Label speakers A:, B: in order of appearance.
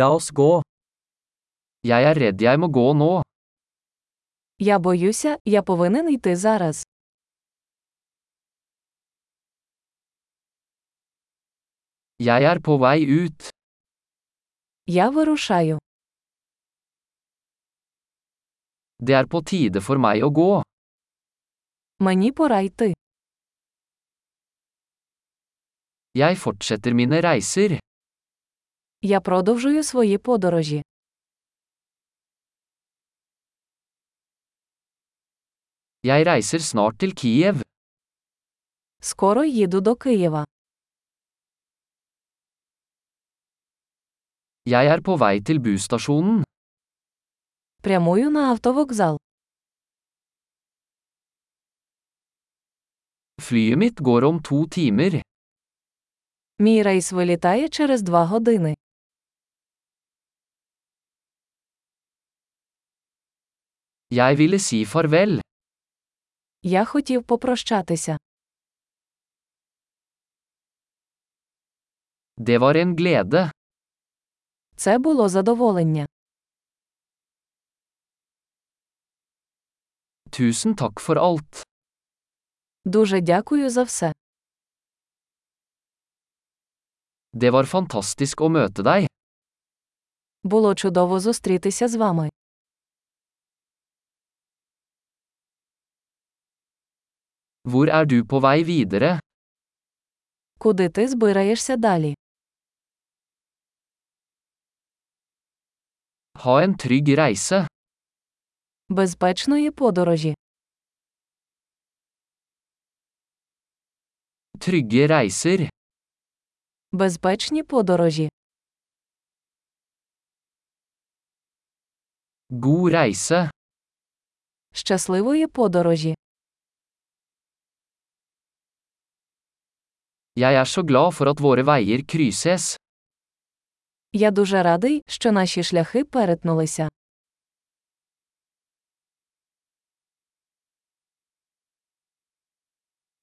A: La oss gå. Jeg er redd jeg må gå nå.
B: Я боюся, я повинен йти зараз.
A: Jeg er på vei ut.
B: Я вирушаю.
A: Det er på tide for meg å gå.
B: Мені пора йти.
A: Jeg fortsetter mine reiser.
B: Я продовжую свої подорожі.
A: Jeg reiser snart til Kiev.
B: Скоро їду до Києва.
A: Jeg er på vei til busstasjonen.
B: Прямую на автовокзал.
A: Flyet mitt går om to timer.
B: Мій рейс вилітає через два години.
A: Jeg ville si farvel.
B: Я хотів попрощатися.
A: Det var en glede.
B: Це було задоволення.
A: Tusen takk for alt.
B: Дуже дякую за все.
A: Det var fantastisk å møte deg.
B: Було чудово зустрітися з вами.
A: Hvor er du på vei videre?
B: Куди ти збираєшся далі?
A: Ha en trygg reise.
B: Безпечної подорожі.
A: Trygge reiser.
B: Безпечні подорожі.
A: God reise.
B: Щасливої подорожі.
A: Jeg er så glad for at våre veier krysses.
B: Я дуже радий, що наші шляхи перетнулися.